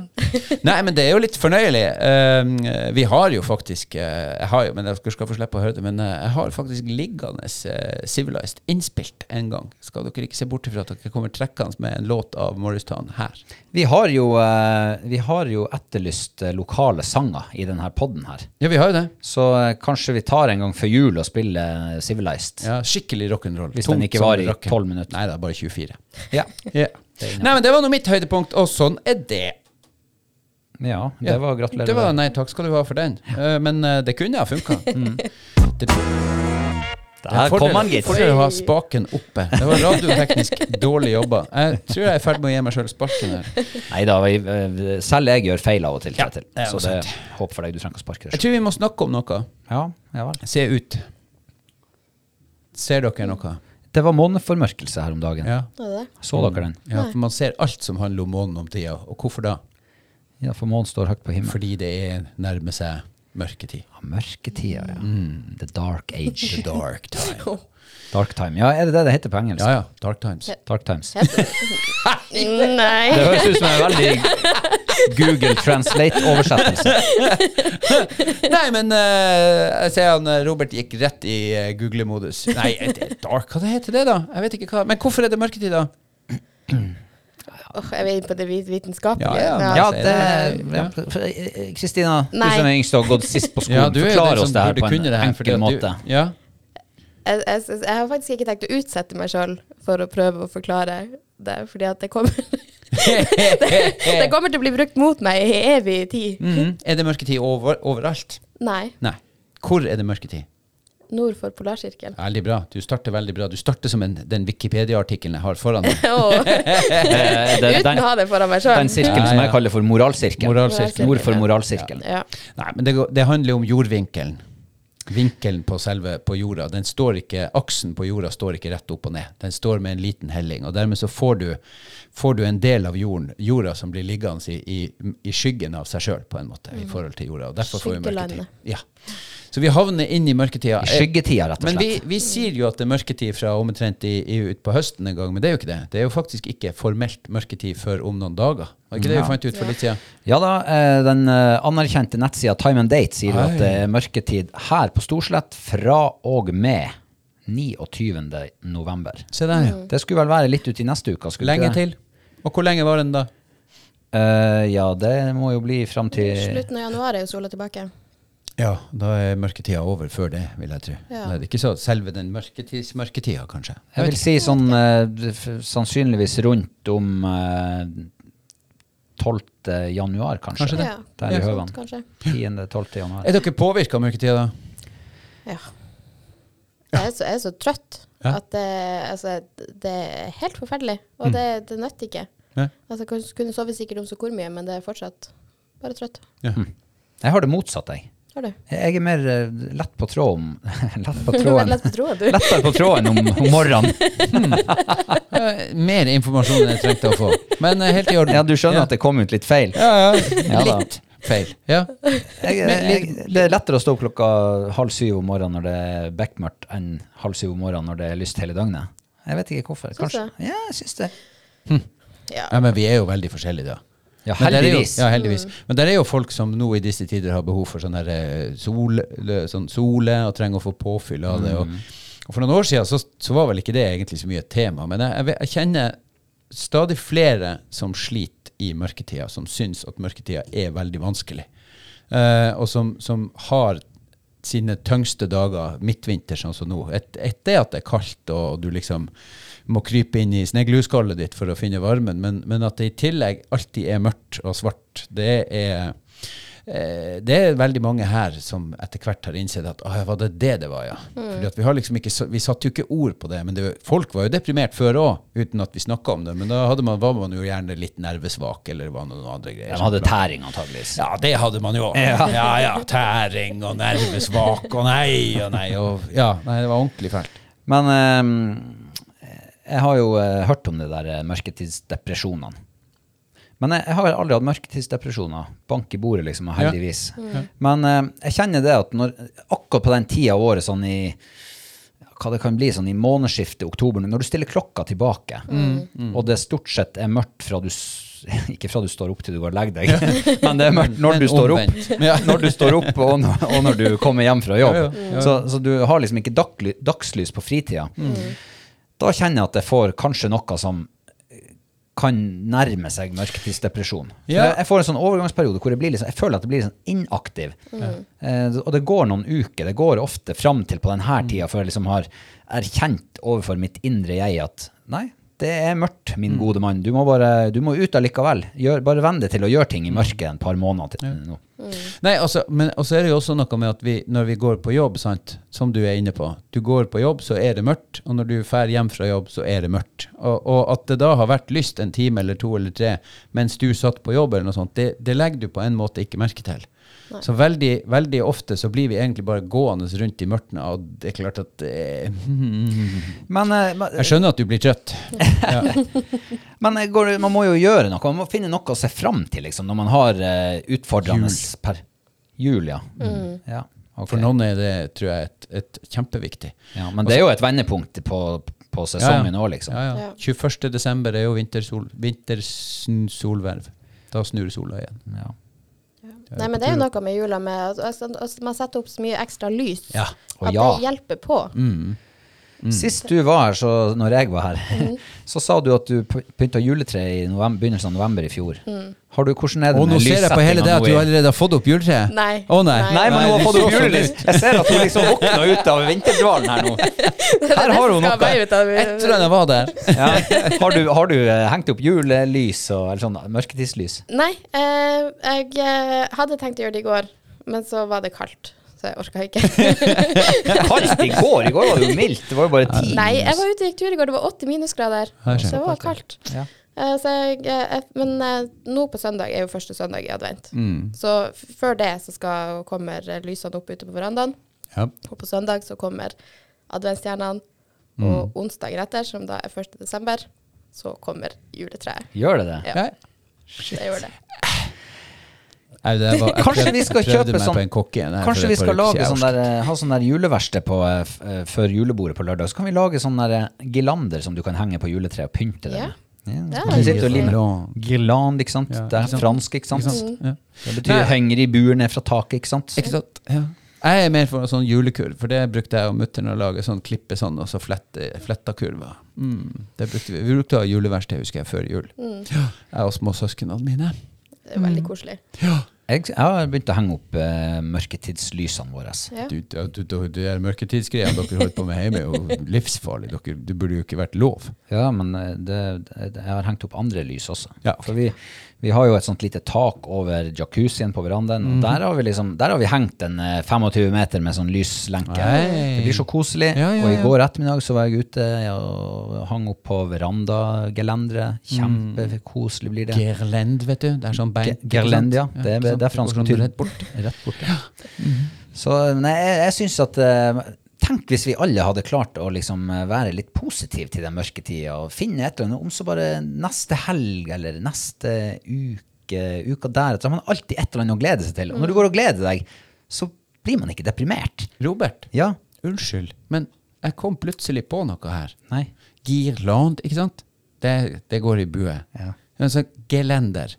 [SPEAKER 1] Nei, men det er jo litt fornøyelig. Um, eh, vi har jo faktisk eh, Jeg har jo, men dere skal få slippe å høre det, men eh, jeg har faktisk liggende eh, Civilized innspilt en gang. Skal dere ikke se bort ifra at dere kommer trekkende med en låt av Morristown her?
[SPEAKER 2] Vi har jo, eh, vi har jo etterlyst eh, lokale sanger i denne podden her.
[SPEAKER 1] Ja, vi har jo det.
[SPEAKER 2] Så eh, kanskje vi tar en gang før jul og spiller eh, Civilized.
[SPEAKER 1] Ja, skikkelig rock'n'roll.
[SPEAKER 2] Hvis den
[SPEAKER 1] Tungt
[SPEAKER 2] ikke
[SPEAKER 1] som
[SPEAKER 2] varer i
[SPEAKER 1] rocken.
[SPEAKER 2] 12 minutter.
[SPEAKER 1] Nei, det er bare 24.
[SPEAKER 2] Ja.
[SPEAKER 1] Ja. Nei, men det var nå mitt høydepunkt, og sånn er det.
[SPEAKER 2] ja,
[SPEAKER 1] Ja.
[SPEAKER 2] det var gratulerer.
[SPEAKER 1] Det var,
[SPEAKER 2] med
[SPEAKER 1] nei, takk skal du ha for den. Eh, men eh, det kunne ha funka.
[SPEAKER 2] Mm.
[SPEAKER 1] Det,
[SPEAKER 2] det. Der kom han, gitt.
[SPEAKER 1] Fordel å ha spaken oppe. Det var radioteknisk dårlig jobba. Jeg tror jeg er i ferd med å gi meg sjøl sparken her.
[SPEAKER 2] Nei da, vi- eh, selv jeg gjør feil av og til.
[SPEAKER 1] Ja,
[SPEAKER 2] Kjetil.
[SPEAKER 1] det er
[SPEAKER 2] så
[SPEAKER 1] jo
[SPEAKER 2] det håper for deg. Du trenger ikke å sparke
[SPEAKER 1] Jeg
[SPEAKER 2] deg selv.
[SPEAKER 1] tror vi må snakke om noe.
[SPEAKER 2] Ja, ja vel.
[SPEAKER 1] Se ut. Ser dere noe?
[SPEAKER 2] Det var måneformørkelse her om dagen.
[SPEAKER 1] Ja.
[SPEAKER 3] Var det det?
[SPEAKER 2] Så dere den?
[SPEAKER 1] ja, for man ser alt som handler om månen om tida. Og hvorfor da?
[SPEAKER 2] Ja, for månen står høyt på himmelen.
[SPEAKER 1] Fordi det er nærmer seg mørketid.
[SPEAKER 2] Ja, mørketida, ja.
[SPEAKER 1] Mm.
[SPEAKER 2] The dark age.
[SPEAKER 1] The dark time.
[SPEAKER 2] Dark time. Ja, er det det det heter på engelsk?
[SPEAKER 1] Ja ja, dark times.
[SPEAKER 2] Dark times. Det
[SPEAKER 3] Mm, Nei.
[SPEAKER 2] høres ut som en veldig Google Translate-oversettelse.
[SPEAKER 1] Nei, men eh, jeg ser han eh, Robert gikk rett i eh, google-modus. Nei, det er dark, hva det heter det, da? Jeg vet ikke hva. Men hvorfor er det mørketid, da?
[SPEAKER 3] [laughs] Åh, jeg er inne på det vit- vitenskapelige.
[SPEAKER 1] Ja, ja,
[SPEAKER 2] Ja,
[SPEAKER 1] altså,
[SPEAKER 2] det
[SPEAKER 1] ja.
[SPEAKER 2] ja. eh, Kristina, du
[SPEAKER 3] Nei.
[SPEAKER 2] som er yngst og har gått sist på skolen,
[SPEAKER 1] Ja, du er jo den
[SPEAKER 2] forklar oss
[SPEAKER 1] som
[SPEAKER 2] det her
[SPEAKER 1] burde
[SPEAKER 2] på en
[SPEAKER 1] kunne det her, fordi
[SPEAKER 2] enkel
[SPEAKER 1] at
[SPEAKER 2] måte.
[SPEAKER 1] [laughs] Du,
[SPEAKER 2] [laughs]
[SPEAKER 1] ja.
[SPEAKER 3] Jeg, jeg, synes- jeg har faktisk ikke tenkt å utsette meg sjøl for å prøve å forklare det, fordi at det kommer, [laughs] det kommer til å bli brukt mot meg i evig tid.
[SPEAKER 1] [laughs] Mhm. Er det mørketid over, overalt?
[SPEAKER 3] Nei.
[SPEAKER 1] Nei. Hvor er det mørketid?
[SPEAKER 3] Nord for
[SPEAKER 1] [laughs]
[SPEAKER 3] polarsirkelen.
[SPEAKER 1] Veldig bra. Du starter veldig bra. Du starter som en, den Wikipedia-artikkelen jeg har foran meg.
[SPEAKER 3] Åh,
[SPEAKER 2] Eh, det-
[SPEAKER 3] [laughs] Uten å ha det foran meg
[SPEAKER 2] Den
[SPEAKER 3] sjøl.
[SPEAKER 2] sirkelen
[SPEAKER 1] Altså, Ja,
[SPEAKER 2] som
[SPEAKER 1] ja.
[SPEAKER 2] jeg kaller for moralsirkelen.
[SPEAKER 1] Moralsirkelen.
[SPEAKER 2] Nord for moralsirkelen.
[SPEAKER 3] Ja.
[SPEAKER 1] Nei, men det, går- det handler om jordvinkelen. Vinkelen på selve på jorda. Den står ikke, aksen på jorda står ikke rett opp og ned. Den står med en liten helling. og Dermed så får du, får du en del av jorden, jorda som blir liggende i, i, i skyggen av seg sjøl, på en måte, i forhold til jorda. og derfor får vi mørketid.
[SPEAKER 3] Skyggelandet.
[SPEAKER 1] Ja. Så vi havner inn i mørketida.
[SPEAKER 2] I skyggetida, rett og
[SPEAKER 1] Eh, Men vi,
[SPEAKER 2] slett.
[SPEAKER 1] vi sier jo at det er mørketid fra omtrent i, i, ut på høsten en gang, men det er jo ikke det. Det er jo faktisk ikke formelt mørketid før om noen dager. Var ikke det
[SPEAKER 2] Ja.
[SPEAKER 1] vi fant ut for litt siden?
[SPEAKER 2] Ja da, eh, den eh, anerkjente nettsida Time and Date sier jo at
[SPEAKER 1] Oi.
[SPEAKER 2] det er mørketid her på Storslett fra og med 29. november.
[SPEAKER 1] Se der, ja.
[SPEAKER 2] Det skulle vel være litt ut i neste uke? skulle
[SPEAKER 1] Lenge
[SPEAKER 2] ikke det?
[SPEAKER 1] til. Og hvor lenge var den da?
[SPEAKER 2] Eh, ja, det må jo bli fram til
[SPEAKER 3] Slutten av januar er jo sola tilbake.
[SPEAKER 1] Ja, da er mørketida over før det, vil jeg tro.
[SPEAKER 3] Ja.
[SPEAKER 1] Da er det ikke så selve den mørketids mørketida, kanskje. Jeg
[SPEAKER 2] Jeg
[SPEAKER 1] vet
[SPEAKER 2] vil si sånn eh, f- sannsynligvis rundt om eh, 12. januar, kanskje.
[SPEAKER 1] Kanskje det.
[SPEAKER 3] Ja.
[SPEAKER 2] Der i
[SPEAKER 3] Ja,
[SPEAKER 2] høvene.
[SPEAKER 3] sånt, kanskje.
[SPEAKER 2] 10.-12.
[SPEAKER 1] ikke.
[SPEAKER 2] januar.
[SPEAKER 1] Er dere påvirka av mørketida, da?
[SPEAKER 3] Ja. Jeg er så, jeg er så trøtt
[SPEAKER 1] Ja.
[SPEAKER 3] at det, altså, det er helt forferdelig. Og det, det nytter ikke.
[SPEAKER 1] Nei?
[SPEAKER 3] Altså, jeg kunne- kunne sove sikkert om så hvor mye, men det er fortsatt bare trøtt.
[SPEAKER 1] Ja.
[SPEAKER 2] Jeg har det motsatt, jeg.
[SPEAKER 3] Har du?
[SPEAKER 2] Jeg er mer eh, lett på tråden [laughs] Lett på
[SPEAKER 3] Du var
[SPEAKER 2] tråden.
[SPEAKER 3] [laughs] lett på tråden,
[SPEAKER 2] [laughs]
[SPEAKER 3] du.
[SPEAKER 2] Lettere på tråden om, om morgenen.
[SPEAKER 1] Eh, Mer informasjon enn jeg trengte å få. Men eh, helt i orden.
[SPEAKER 2] Ja, du skjønner at det kom ut litt feil.
[SPEAKER 1] ja,
[SPEAKER 2] Ja
[SPEAKER 1] ja.
[SPEAKER 2] da.
[SPEAKER 1] Litt feil. Ja.
[SPEAKER 2] Jeg, eh, jeg, det er lettere å stå opp klokka halv syv om morgenen når det er bekmørkt, enn halv syv om morgenen når det er lyst hele døgnet. Jeg vet ikke hvorfor.
[SPEAKER 3] Syns
[SPEAKER 2] Kanskje. Ja, jeg syns det.
[SPEAKER 3] Ja.
[SPEAKER 1] ja, men vi er jo veldig forskjellige, da.
[SPEAKER 2] Ja,
[SPEAKER 1] Men der er jo-
[SPEAKER 2] heldigvis.
[SPEAKER 1] Ja, heldigvis. Men der er jo folk som nå i disse tider har behov for sånn her, eh, sol, lø- sånn sole og trenger å få påfyll av det.
[SPEAKER 2] Mm.
[SPEAKER 1] Og, og for noen år siden så, så var vel ikke det egentlig så mye et tema, men jeg, jeg, vet- jeg kjenner stadig flere som sliter i mørketida, som syns at mørketida er veldig vanskelig, Eh, og som, som har sine tyngste dager midtvinter, sånn som nå. Et- Ett er at det er kaldt, og du liksom må krype inn i snegluskallet ditt for å finne varmen, men, men at det i tillegg alltid er mørkt og svart, det er eh, det er veldig mange her som etter hvert har innsett at ah, var det det det var, ja. Fordi at vi, har liksom ikke, så- vi satte jo ikke ord på det, men det, folk var jo deprimert før òg, uten at vi snakka om det. Men da hadde man, var man jo gjerne litt nervesvak, eller var det noen andre greier.
[SPEAKER 2] De hadde tæring, antageligvis.
[SPEAKER 1] Ja, det hadde man jo. Ja, ja. tæring og nervesvak og nei og nei. Og, ja, nei, det var ordentlig fælt.
[SPEAKER 2] Men eh, jeg har jo eh, hørt om det der eh, mørketidsdepresjonene. Men jeg, jeg har aldri hatt mørketidsdepresjoner. Bank i bordet, liksom, og
[SPEAKER 1] Ja.
[SPEAKER 2] heldigvis. Men eh, jeg kjenner det at når, akkurat på den tida av året, sånn i ja, hva det kan bli, sånn i månedsskiftet, oktober, når du stiller klokka tilbake,
[SPEAKER 1] Mm.
[SPEAKER 2] og det stort sett er mørkt fra du s- [laughs] ikke fra du står opp til du går og legger deg, [laughs] men det er mørkt når
[SPEAKER 1] Men
[SPEAKER 2] du står opp [laughs]
[SPEAKER 1] omvendt. Ja.
[SPEAKER 2] når du står opp og når, og når du kommer hjem fra jobb.
[SPEAKER 1] Ja, ja, ja.
[SPEAKER 2] Så, så du har liksom ikke dagly, dagslys på fritida.
[SPEAKER 1] Mm.
[SPEAKER 2] Da kjenner jeg at jeg får kanskje noe som kan nærme seg mørketidsdepresjon. For
[SPEAKER 1] Ja.
[SPEAKER 2] Jeg, jeg får en sånn overgangsperiode hvor jeg, blir liksom, jeg føler at jeg blir sånn inaktiv.
[SPEAKER 1] Mm.
[SPEAKER 2] Eh, og det går noen uker. Det går ofte fram til på denne
[SPEAKER 1] Mm.
[SPEAKER 2] tida før jeg liksom har erkjent overfor mitt indre jeg at nei, det er mørkt,
[SPEAKER 1] Mm.
[SPEAKER 2] min gode mann. Du må, bare, du må ut allikevel. Gjør, bare venn deg til å gjøre ting i mørket en par måneder til nå.
[SPEAKER 1] Nei, altså, men og så er det jo også noe med at vi, når vi går på jobb, sant, som du er inne på Du går på jobb, så er det mørkt, og når du drar hjem fra jobb, så er det mørkt. Og, og at det da har vært lyst en time eller to eller tre mens du satt på jobb, eller noe sånt, det, det legger du på en måte ikke merke til. Så veldig, veldig ofte så blir vi egentlig bare gående rundt i mørket, og det er klart at eh, [laughs]
[SPEAKER 2] Men, eh, men,
[SPEAKER 1] Jeg skjønner at du blir trøtt.
[SPEAKER 2] men eh, går, det- man må jo gjøre noe. Man må finne noe å se fram til liksom, når man har eh, utfordrende per jul. Ja.
[SPEAKER 1] Mm.
[SPEAKER 3] Mm.
[SPEAKER 2] Ja, ok.
[SPEAKER 1] For noen er det, tror jeg, et, et kjempeviktig.
[SPEAKER 2] ja, men det er jo et vendepunkt på, på sesongen
[SPEAKER 1] Ja,
[SPEAKER 2] nå, liksom.
[SPEAKER 1] Ja, ja.
[SPEAKER 3] Ja.
[SPEAKER 1] 21. desember er jo vintersol, vintersolverv. Da snur sola igjen.
[SPEAKER 2] Ja.
[SPEAKER 3] Nei, men det er jo noe med jula med at altså, altså, man setter opp så mye ekstra lys
[SPEAKER 1] Ja.
[SPEAKER 2] Og
[SPEAKER 3] at
[SPEAKER 2] ja.
[SPEAKER 3] det hjelper
[SPEAKER 2] [laughs]
[SPEAKER 3] på.
[SPEAKER 1] Mm.
[SPEAKER 2] Sist du var her, så, når jeg var her, [laughs] så sa du at du p- pynta juletre i november, begynnelsen av november i fjor. Har du, hvordan er det
[SPEAKER 1] Og nå ser jeg på hele det at du allerede har fått opp juletreet.
[SPEAKER 3] Nei.
[SPEAKER 1] Å nei.
[SPEAKER 3] Nei.
[SPEAKER 2] Nei, men hun
[SPEAKER 1] du
[SPEAKER 2] har fått opp
[SPEAKER 1] så sånn
[SPEAKER 2] julelys.
[SPEAKER 1] ut.
[SPEAKER 2] Jeg ser at hun liksom våkner ut av vinterdvalen her
[SPEAKER 1] [laughs]
[SPEAKER 2] nå. Her har hun noe.
[SPEAKER 1] Jeg tror jeg var [laughs] der.
[SPEAKER 2] Ja. Har du, har du eh, hengt opp julelys og eller sånn [laughs] mørketidslys?
[SPEAKER 3] Nei, eh, jeg eh, hadde tenkt å gjøre det i går, men så var det kaldt, så jeg orka
[SPEAKER 2] [laughs]
[SPEAKER 3] ikke.
[SPEAKER 2] Kaldt i går! I går var det jo mildt. Det var jo bare ti.
[SPEAKER 3] Nei, jeg var ute og gikk tur i går, det var 80 minusgrader,
[SPEAKER 1] Her
[SPEAKER 3] så
[SPEAKER 1] skjer
[SPEAKER 3] det var kaldt.
[SPEAKER 2] Ja.
[SPEAKER 3] Eh, så jeg, eh, jeg, men eh, nå på søndag er jo første søndag i advent,
[SPEAKER 1] Mm.
[SPEAKER 2] Mm.
[SPEAKER 3] så f- før det så skal, kommer eh, lysene opp ute på verandaen,
[SPEAKER 1] Ja.
[SPEAKER 3] og på søndag så kommer adventsstjernene,
[SPEAKER 2] Mm.
[SPEAKER 3] og onsdagen etter, som da er 1. desember, så kommer juletreet.
[SPEAKER 2] Gjør det det?
[SPEAKER 3] Ja,
[SPEAKER 1] Nei.
[SPEAKER 3] det gjør det.
[SPEAKER 1] Nei, det var, jeg
[SPEAKER 2] Kanskje
[SPEAKER 1] prøvde-
[SPEAKER 2] vi skal
[SPEAKER 1] prøvde
[SPEAKER 2] kjøpe
[SPEAKER 1] meg
[SPEAKER 2] sånn-
[SPEAKER 1] på en kokke igjen her for
[SPEAKER 2] Kanskje vi
[SPEAKER 1] et par
[SPEAKER 2] skal
[SPEAKER 1] uker
[SPEAKER 2] lage
[SPEAKER 1] siden.
[SPEAKER 2] sånn der, eh, ha sånn der juleverksted på, eh, f- eh, før julebordet på lørdag. Så kan vi lage sånne der eh, girlander som du kan henge på juletreet og pynte det
[SPEAKER 3] Ja.
[SPEAKER 2] med. Ja.
[SPEAKER 3] Ja,
[SPEAKER 2] Kan du sitte og lime-
[SPEAKER 1] Girland.
[SPEAKER 2] Girland, ikke sant.
[SPEAKER 1] Ja,
[SPEAKER 2] Det
[SPEAKER 1] ikke
[SPEAKER 2] er
[SPEAKER 1] sant?
[SPEAKER 2] fransk, ikke sant.
[SPEAKER 1] Ja.
[SPEAKER 2] Det betyr henger i bur ned fra taket, ikke sant.
[SPEAKER 1] Ikke sant? Ja. Jeg er mer for sånn julekurv, for det brukte jeg og mutter'n å lage. sånn Klippe sånn, og så flette, fletta kurver. Mm, det brukte vi. vi brukte å ha juleverksted, husker jeg, før jul. Ja, jeg og småsøsknene mine.
[SPEAKER 3] Det er veldig koselig.
[SPEAKER 2] Jeg, jeg har begynt å henge opp eh, mørketidslysene våre.
[SPEAKER 3] Ja.
[SPEAKER 1] Du, du, du, du, det er mørketidsgreia dere holder på med hjemme, er jo livsfarlig. Dere, det burde jo ikke vært lov.
[SPEAKER 2] Ja, men eh, det, det, jeg har hengt opp andre lys også.
[SPEAKER 1] Ja.
[SPEAKER 2] For vi, vi har jo et sånt lite tak over jacuzzien på verandaen.
[SPEAKER 1] Mhm.
[SPEAKER 2] Og der har vi liksom, der har vi hengt en eh, 25 meter med sånn lyslenke.
[SPEAKER 1] Nei.
[SPEAKER 2] Det blir så koselig.
[SPEAKER 1] Ja, ja,
[SPEAKER 2] Og i
[SPEAKER 1] ja.
[SPEAKER 2] går ettermiddag så var jeg ute og hang opp på verandagelenderet.
[SPEAKER 1] Mm.
[SPEAKER 2] Kjempekoselig blir det.
[SPEAKER 1] Gerlend, vet du. Det er sånn bein.
[SPEAKER 2] Ge- Gerlend, ja. Det er,
[SPEAKER 1] ikke sant?
[SPEAKER 2] det er fransk
[SPEAKER 1] går sånn
[SPEAKER 2] natur.
[SPEAKER 1] rett bort.
[SPEAKER 2] Rett bort, ja. Så nei, jeg, jeg syns at eh, Tenk hvis vi alle hadde klart å liksom eh, være litt positive til den mørke tida og finne et eller annet, om så bare neste helg eller neste uke, uka deretter. Så har man alltid et eller annet å glede seg til. Og når du går og gleder deg, så blir man ikke deprimert.
[SPEAKER 1] Robert,
[SPEAKER 2] Ja.
[SPEAKER 1] unnskyld, men jeg kom plutselig på noe her.
[SPEAKER 2] Nei.
[SPEAKER 1] Girland, ikke sant? Det, det går i bue.
[SPEAKER 2] Ja.
[SPEAKER 1] Men så gelender.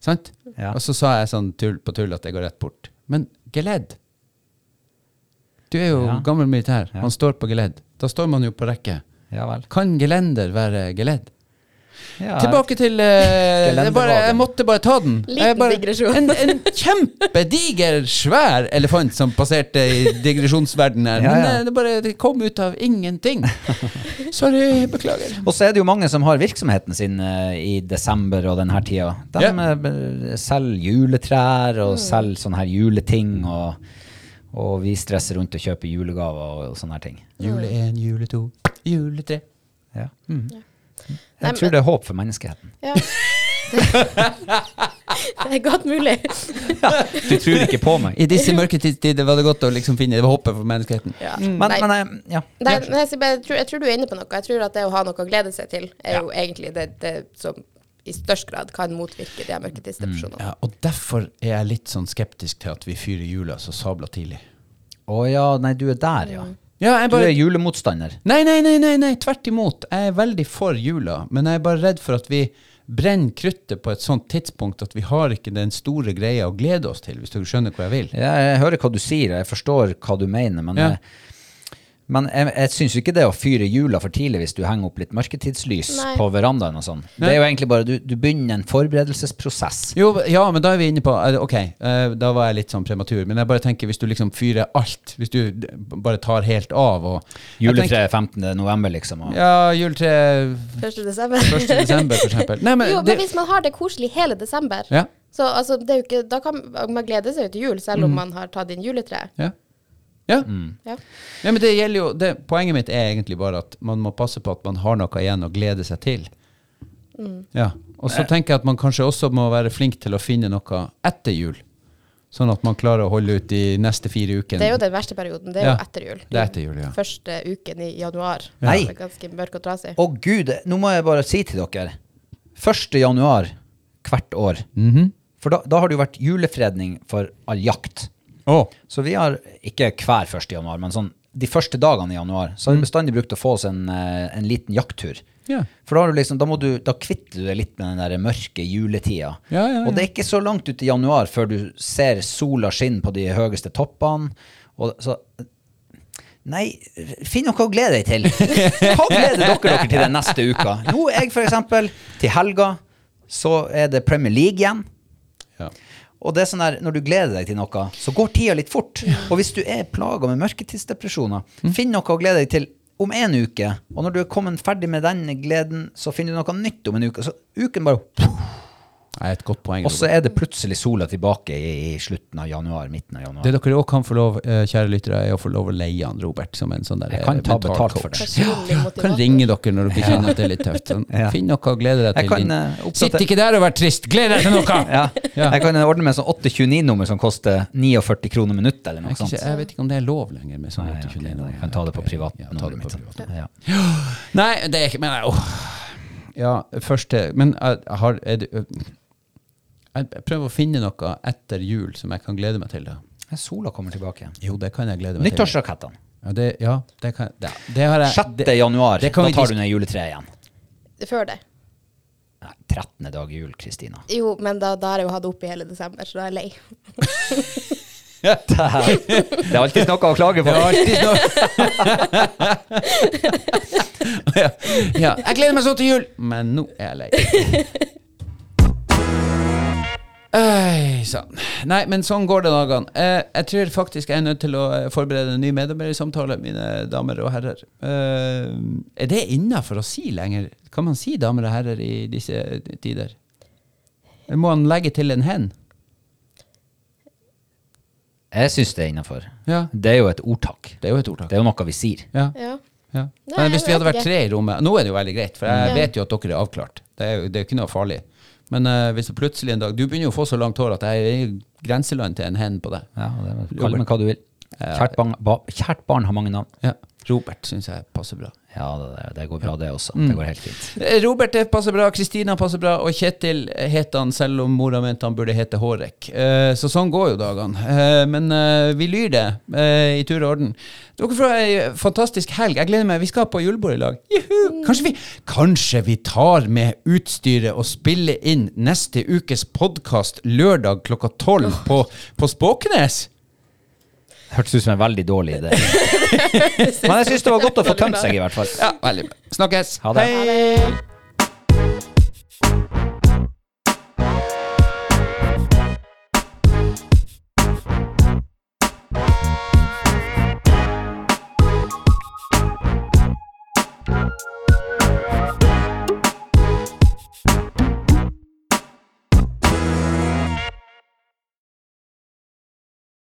[SPEAKER 1] Sant?
[SPEAKER 2] Ja.
[SPEAKER 1] Og så sa jeg sånn tull, på tull at jeg går rett bort. Men geledd Du er jo
[SPEAKER 2] Ja.
[SPEAKER 1] gammel militær.
[SPEAKER 2] Ja.
[SPEAKER 1] Han står på geledd. Da står man jo på rekke.
[SPEAKER 2] Ja vel.
[SPEAKER 1] Kan gelender være geledd?
[SPEAKER 2] Ja,
[SPEAKER 1] Tilbake til
[SPEAKER 2] [laughs]
[SPEAKER 1] eh,
[SPEAKER 2] Gelender
[SPEAKER 1] jeg, bare,
[SPEAKER 2] var det.
[SPEAKER 1] jeg måtte bare ta den.
[SPEAKER 3] Liten
[SPEAKER 1] Jeg bare,
[SPEAKER 3] digresjon.
[SPEAKER 1] En, en kjempediger, svær elefant som passerte i digresjonsverdenen her.
[SPEAKER 2] [laughs] Ja,
[SPEAKER 1] Men
[SPEAKER 2] ja.
[SPEAKER 1] eh, det bare det kom ut av
[SPEAKER 2] [laughs]
[SPEAKER 1] ingenting. Sorry, beklager.
[SPEAKER 2] Og så er det jo mange som har virksomheten sin eh, i desember og denne tida. De
[SPEAKER 1] Ja.
[SPEAKER 2] eh, b- selger juletrær
[SPEAKER 3] Mm.
[SPEAKER 2] og selger sånne her juleting, og, og vi stresser rundt og kjøper julegaver og, og sånne her ting.
[SPEAKER 1] Jule én, jule to, jule tre.
[SPEAKER 2] Ja.
[SPEAKER 3] Nei,
[SPEAKER 2] Jeg tror det er håp for menneskeheten.
[SPEAKER 3] Ja. Det, det er godt mulig.
[SPEAKER 2] Du tror ikke på meg.
[SPEAKER 1] I disse mørketidstider var det godt å liksom finne det var håpet for menneskeheten.
[SPEAKER 3] Ja.
[SPEAKER 2] Men,
[SPEAKER 3] Nei.
[SPEAKER 2] men eh, ja.
[SPEAKER 3] Nei, men jeg, sier bare- jeg, tror, jeg tror du er inne på noe. Jeg tror at det å ha noe å glede seg til, er jo egentlig det, det som i størst grad kan motvirke de her mørketidsdepresjonene.
[SPEAKER 2] Mm.
[SPEAKER 1] Ja, og derfor er jeg litt sånn skeptisk til at vi fyrer jula så sabla tidlig.
[SPEAKER 2] Å ja, nei, du er der, ja.
[SPEAKER 3] Mm.
[SPEAKER 1] Ja, jeg
[SPEAKER 2] Du
[SPEAKER 1] bare
[SPEAKER 2] er julemotstander.
[SPEAKER 1] Nei, nei, nei, nei, nei, tvert imot. Jeg er veldig for jula, men jeg er bare redd for at vi brenner kruttet på et sånt tidspunkt at vi har ikke den store greia å glede oss til, hvis du skjønner hvor jeg vil.
[SPEAKER 2] Ja, jeg hører hva du sier, og jeg forstår hva du mener, men,
[SPEAKER 1] Ja.
[SPEAKER 2] eh, men jeg, jeg syns ikke det å fyre jula for tidlig hvis du henger opp litt mørketidslys
[SPEAKER 3] Nei.
[SPEAKER 2] på verandaen og sånn. Det er jo egentlig bare du, du begynner en forberedelsesprosess.
[SPEAKER 1] Jo, ja, men da er vi inne på eh, Ok, eh, da var jeg litt sånn prematur, men jeg bare tenker hvis du liksom fyrer alt, hvis du d- bare tar helt av og Jeg tenker-
[SPEAKER 2] Juletre 15. november, liksom. Og,
[SPEAKER 1] Ja, juletre 1.
[SPEAKER 3] 1. desember.
[SPEAKER 1] desember, for eksempel. Nei, men,
[SPEAKER 3] jo, men
[SPEAKER 1] det,
[SPEAKER 3] hvis man har det koselig hele desember,
[SPEAKER 1] Ja.
[SPEAKER 3] så altså, det er jo ikke, da kan man glede seg jo til jul, selv om
[SPEAKER 1] Mm.
[SPEAKER 3] man har tatt inn juletre.
[SPEAKER 1] ja. Ja.
[SPEAKER 2] Mm.
[SPEAKER 3] Ja.
[SPEAKER 1] Nei, men det gjelder jo det, Poenget mitt er egentlig bare at man må passe på at man har noe igjen å glede seg til.
[SPEAKER 3] Mm.
[SPEAKER 1] Ja. Og
[SPEAKER 2] Eh.
[SPEAKER 1] så tenker jeg at man kanskje også må være flink til å finne noe etter jul. Sånn at man klarer å holde ut de neste fire ukene.
[SPEAKER 3] Det er jo den verste perioden. Det er
[SPEAKER 1] Ja.
[SPEAKER 3] jo etter jul.
[SPEAKER 1] Det er etter jul, ja.
[SPEAKER 3] Første uken i januar.
[SPEAKER 2] Nei.
[SPEAKER 3] Det er ganske mørk og trasig.
[SPEAKER 2] Å gud, nå må jeg bare si til dere 1. januar hvert år.
[SPEAKER 1] Mhm.
[SPEAKER 2] For da, da har det jo vært julefredning for all jakt.
[SPEAKER 1] Å,
[SPEAKER 2] Så vi har ikke hver 1. januar, men sånn de første dagene i januar så har vi bestandig brukt å få oss en, eh, en liten jakttur.
[SPEAKER 1] Mm. Ja.
[SPEAKER 2] For da, har du liksom, da, må du, da kvitter du deg litt med den der mørke juletida.
[SPEAKER 1] Ja, ja, ja.
[SPEAKER 2] Og det er ikke så langt ut i januar før du ser sola skinne på de høyeste toppene. Og så Nei, finn noe å glede deg
[SPEAKER 1] [laughs]
[SPEAKER 2] til. Hva gleder dere dere til den neste uka? Jo, jeg for eksempel, til helga så er det Premier League igjen.
[SPEAKER 1] ja.
[SPEAKER 2] Og det er sånn der, Når du gleder deg til noe, så går tida litt fort. Og hvis du er plaga med mørketidsdepresjoner, finn noe å glede deg til om en uke. Og når du er kommet ferdig med den gleden, så finner du noe nytt om en uke. Så uken bare,
[SPEAKER 1] Det er et godt poeng.
[SPEAKER 2] Og så er det plutselig sola tilbake i, i slutten av januar, midten av
[SPEAKER 1] Det
[SPEAKER 2] januar.
[SPEAKER 1] dere òg kan få lov, eh, kjære lyttere, er å få lov å leie han Robert som en sånn der
[SPEAKER 2] Jeg kan
[SPEAKER 1] eh,
[SPEAKER 2] ta
[SPEAKER 1] mental
[SPEAKER 2] betalt
[SPEAKER 1] coach.
[SPEAKER 2] for det.
[SPEAKER 3] Personlig motivator.
[SPEAKER 1] Kan ringe dere når dere kjenner at det er litt tøft. Sånn.
[SPEAKER 2] Ja.
[SPEAKER 1] Finn noe å glede deg
[SPEAKER 2] Jeg
[SPEAKER 1] til.
[SPEAKER 2] kan,
[SPEAKER 1] din-
[SPEAKER 2] eh, oppdatere-
[SPEAKER 1] Sitt ikke der og vær trist! Gled deg til noe!
[SPEAKER 2] Ja.
[SPEAKER 1] [laughs] Ja.
[SPEAKER 2] Jeg kan ordne med sånn 829-nummer som koster 49 kroner minuttet, eller noe
[SPEAKER 1] Jeg, kan
[SPEAKER 2] sånt.
[SPEAKER 1] ikke, jeg vet ikke om det er lov lenger med sånn
[SPEAKER 2] Nei, ok,
[SPEAKER 1] 829
[SPEAKER 2] da
[SPEAKER 1] nå.
[SPEAKER 2] jeg kan ta det
[SPEAKER 1] Ja, ta
[SPEAKER 2] på
[SPEAKER 1] det
[SPEAKER 2] privatnummeret
[SPEAKER 1] på
[SPEAKER 2] mitt.
[SPEAKER 1] privat.
[SPEAKER 2] sånn. Ja.
[SPEAKER 1] Nei, det er ikke Men åh. Ja, første Men jeg jeg har er det, Jeg prøver å finne noe etter jul som jeg kan glede meg til. Da.
[SPEAKER 2] Men Sola kommer tilbake.
[SPEAKER 1] Jo, det kan jeg glede meg til.
[SPEAKER 2] Nyttårsrakettene.
[SPEAKER 1] Ja, det, ja, det kan det, det har jeg
[SPEAKER 2] 6.
[SPEAKER 1] det,
[SPEAKER 2] januar,
[SPEAKER 1] det
[SPEAKER 2] da
[SPEAKER 1] kan vi
[SPEAKER 2] tar
[SPEAKER 1] dis-
[SPEAKER 2] du ned juletreet igjen.
[SPEAKER 3] Før det.
[SPEAKER 2] Nei, 13. dag i jul, Kristina. [laughs]
[SPEAKER 3] Jo, men da, da har jeg jo hatt det oppe i hele desember, så da er jeg lei.
[SPEAKER 2] Det er alltid noe å klage
[SPEAKER 1] det
[SPEAKER 2] på.
[SPEAKER 1] er alltid noe ja, ja. Jeg gleder meg sånn til jul, men nå er jeg lei. Øy, sann. Nei, men sånn går det dagene. Eh, jeg tror faktisk jeg er nødt til å eh, forberede en ny medarbeidersamtale, mine damer og herrer. Eh, er det innafor å si lenger? Kan man si damer og herrer i disse tider? Eller må han legge til en hen?
[SPEAKER 2] Jeg syns det er innafor.
[SPEAKER 1] Ja.
[SPEAKER 2] Det er jo et ordtak.
[SPEAKER 1] Det er jo et ordtak.
[SPEAKER 2] Det er jo noe vi sier.
[SPEAKER 1] Ja.
[SPEAKER 3] Ja.
[SPEAKER 1] Ja.
[SPEAKER 3] Nei,
[SPEAKER 1] men hvis
[SPEAKER 3] jeg
[SPEAKER 1] vi hadde
[SPEAKER 3] vet
[SPEAKER 1] vært
[SPEAKER 3] ikke.
[SPEAKER 1] tre i rommet Nå er det jo veldig greit, for jeg
[SPEAKER 3] Ja.
[SPEAKER 1] vet jo at dere er avklart. Det er jo det er jo ikke noe farlig. Men eh, hvis det plutselig en dag Du begynner jo å få så langt hår at jeg er i grenseland til en hen på deg.
[SPEAKER 2] Ja, det er, kall meg hva du vil. Kjært barn, ba, kjært barn har mange navn.
[SPEAKER 1] Ja. Robert syns jeg passer bra.
[SPEAKER 2] Ja, det, det går bra, det også. Det går helt fint.
[SPEAKER 1] Eh, Robert det passer bra, Kristina passer bra, og Kjetil het han selv om mora mente han burde hete Hårek. Eh, Så sånn går jo dagene. Eh, Men eh, vi lyr det eh, i tur og orden. Dere får ei fantastisk helg. Jeg gleder meg. Vi skal på julebord i lag. Juhu! Kanskje vi, kanskje vi tar med utstyret og spiller inn neste ukes podkast lørdag klokka tolv på, på Spåkenes?
[SPEAKER 2] Hørtes ut som en veldig dårlig
[SPEAKER 1] [laughs]
[SPEAKER 2] idé. Men jeg syns det var godt å få tømt seg, i hvert fall.
[SPEAKER 1] Ja, veldig bra. Snakkes.
[SPEAKER 2] Ha det.
[SPEAKER 1] Hei.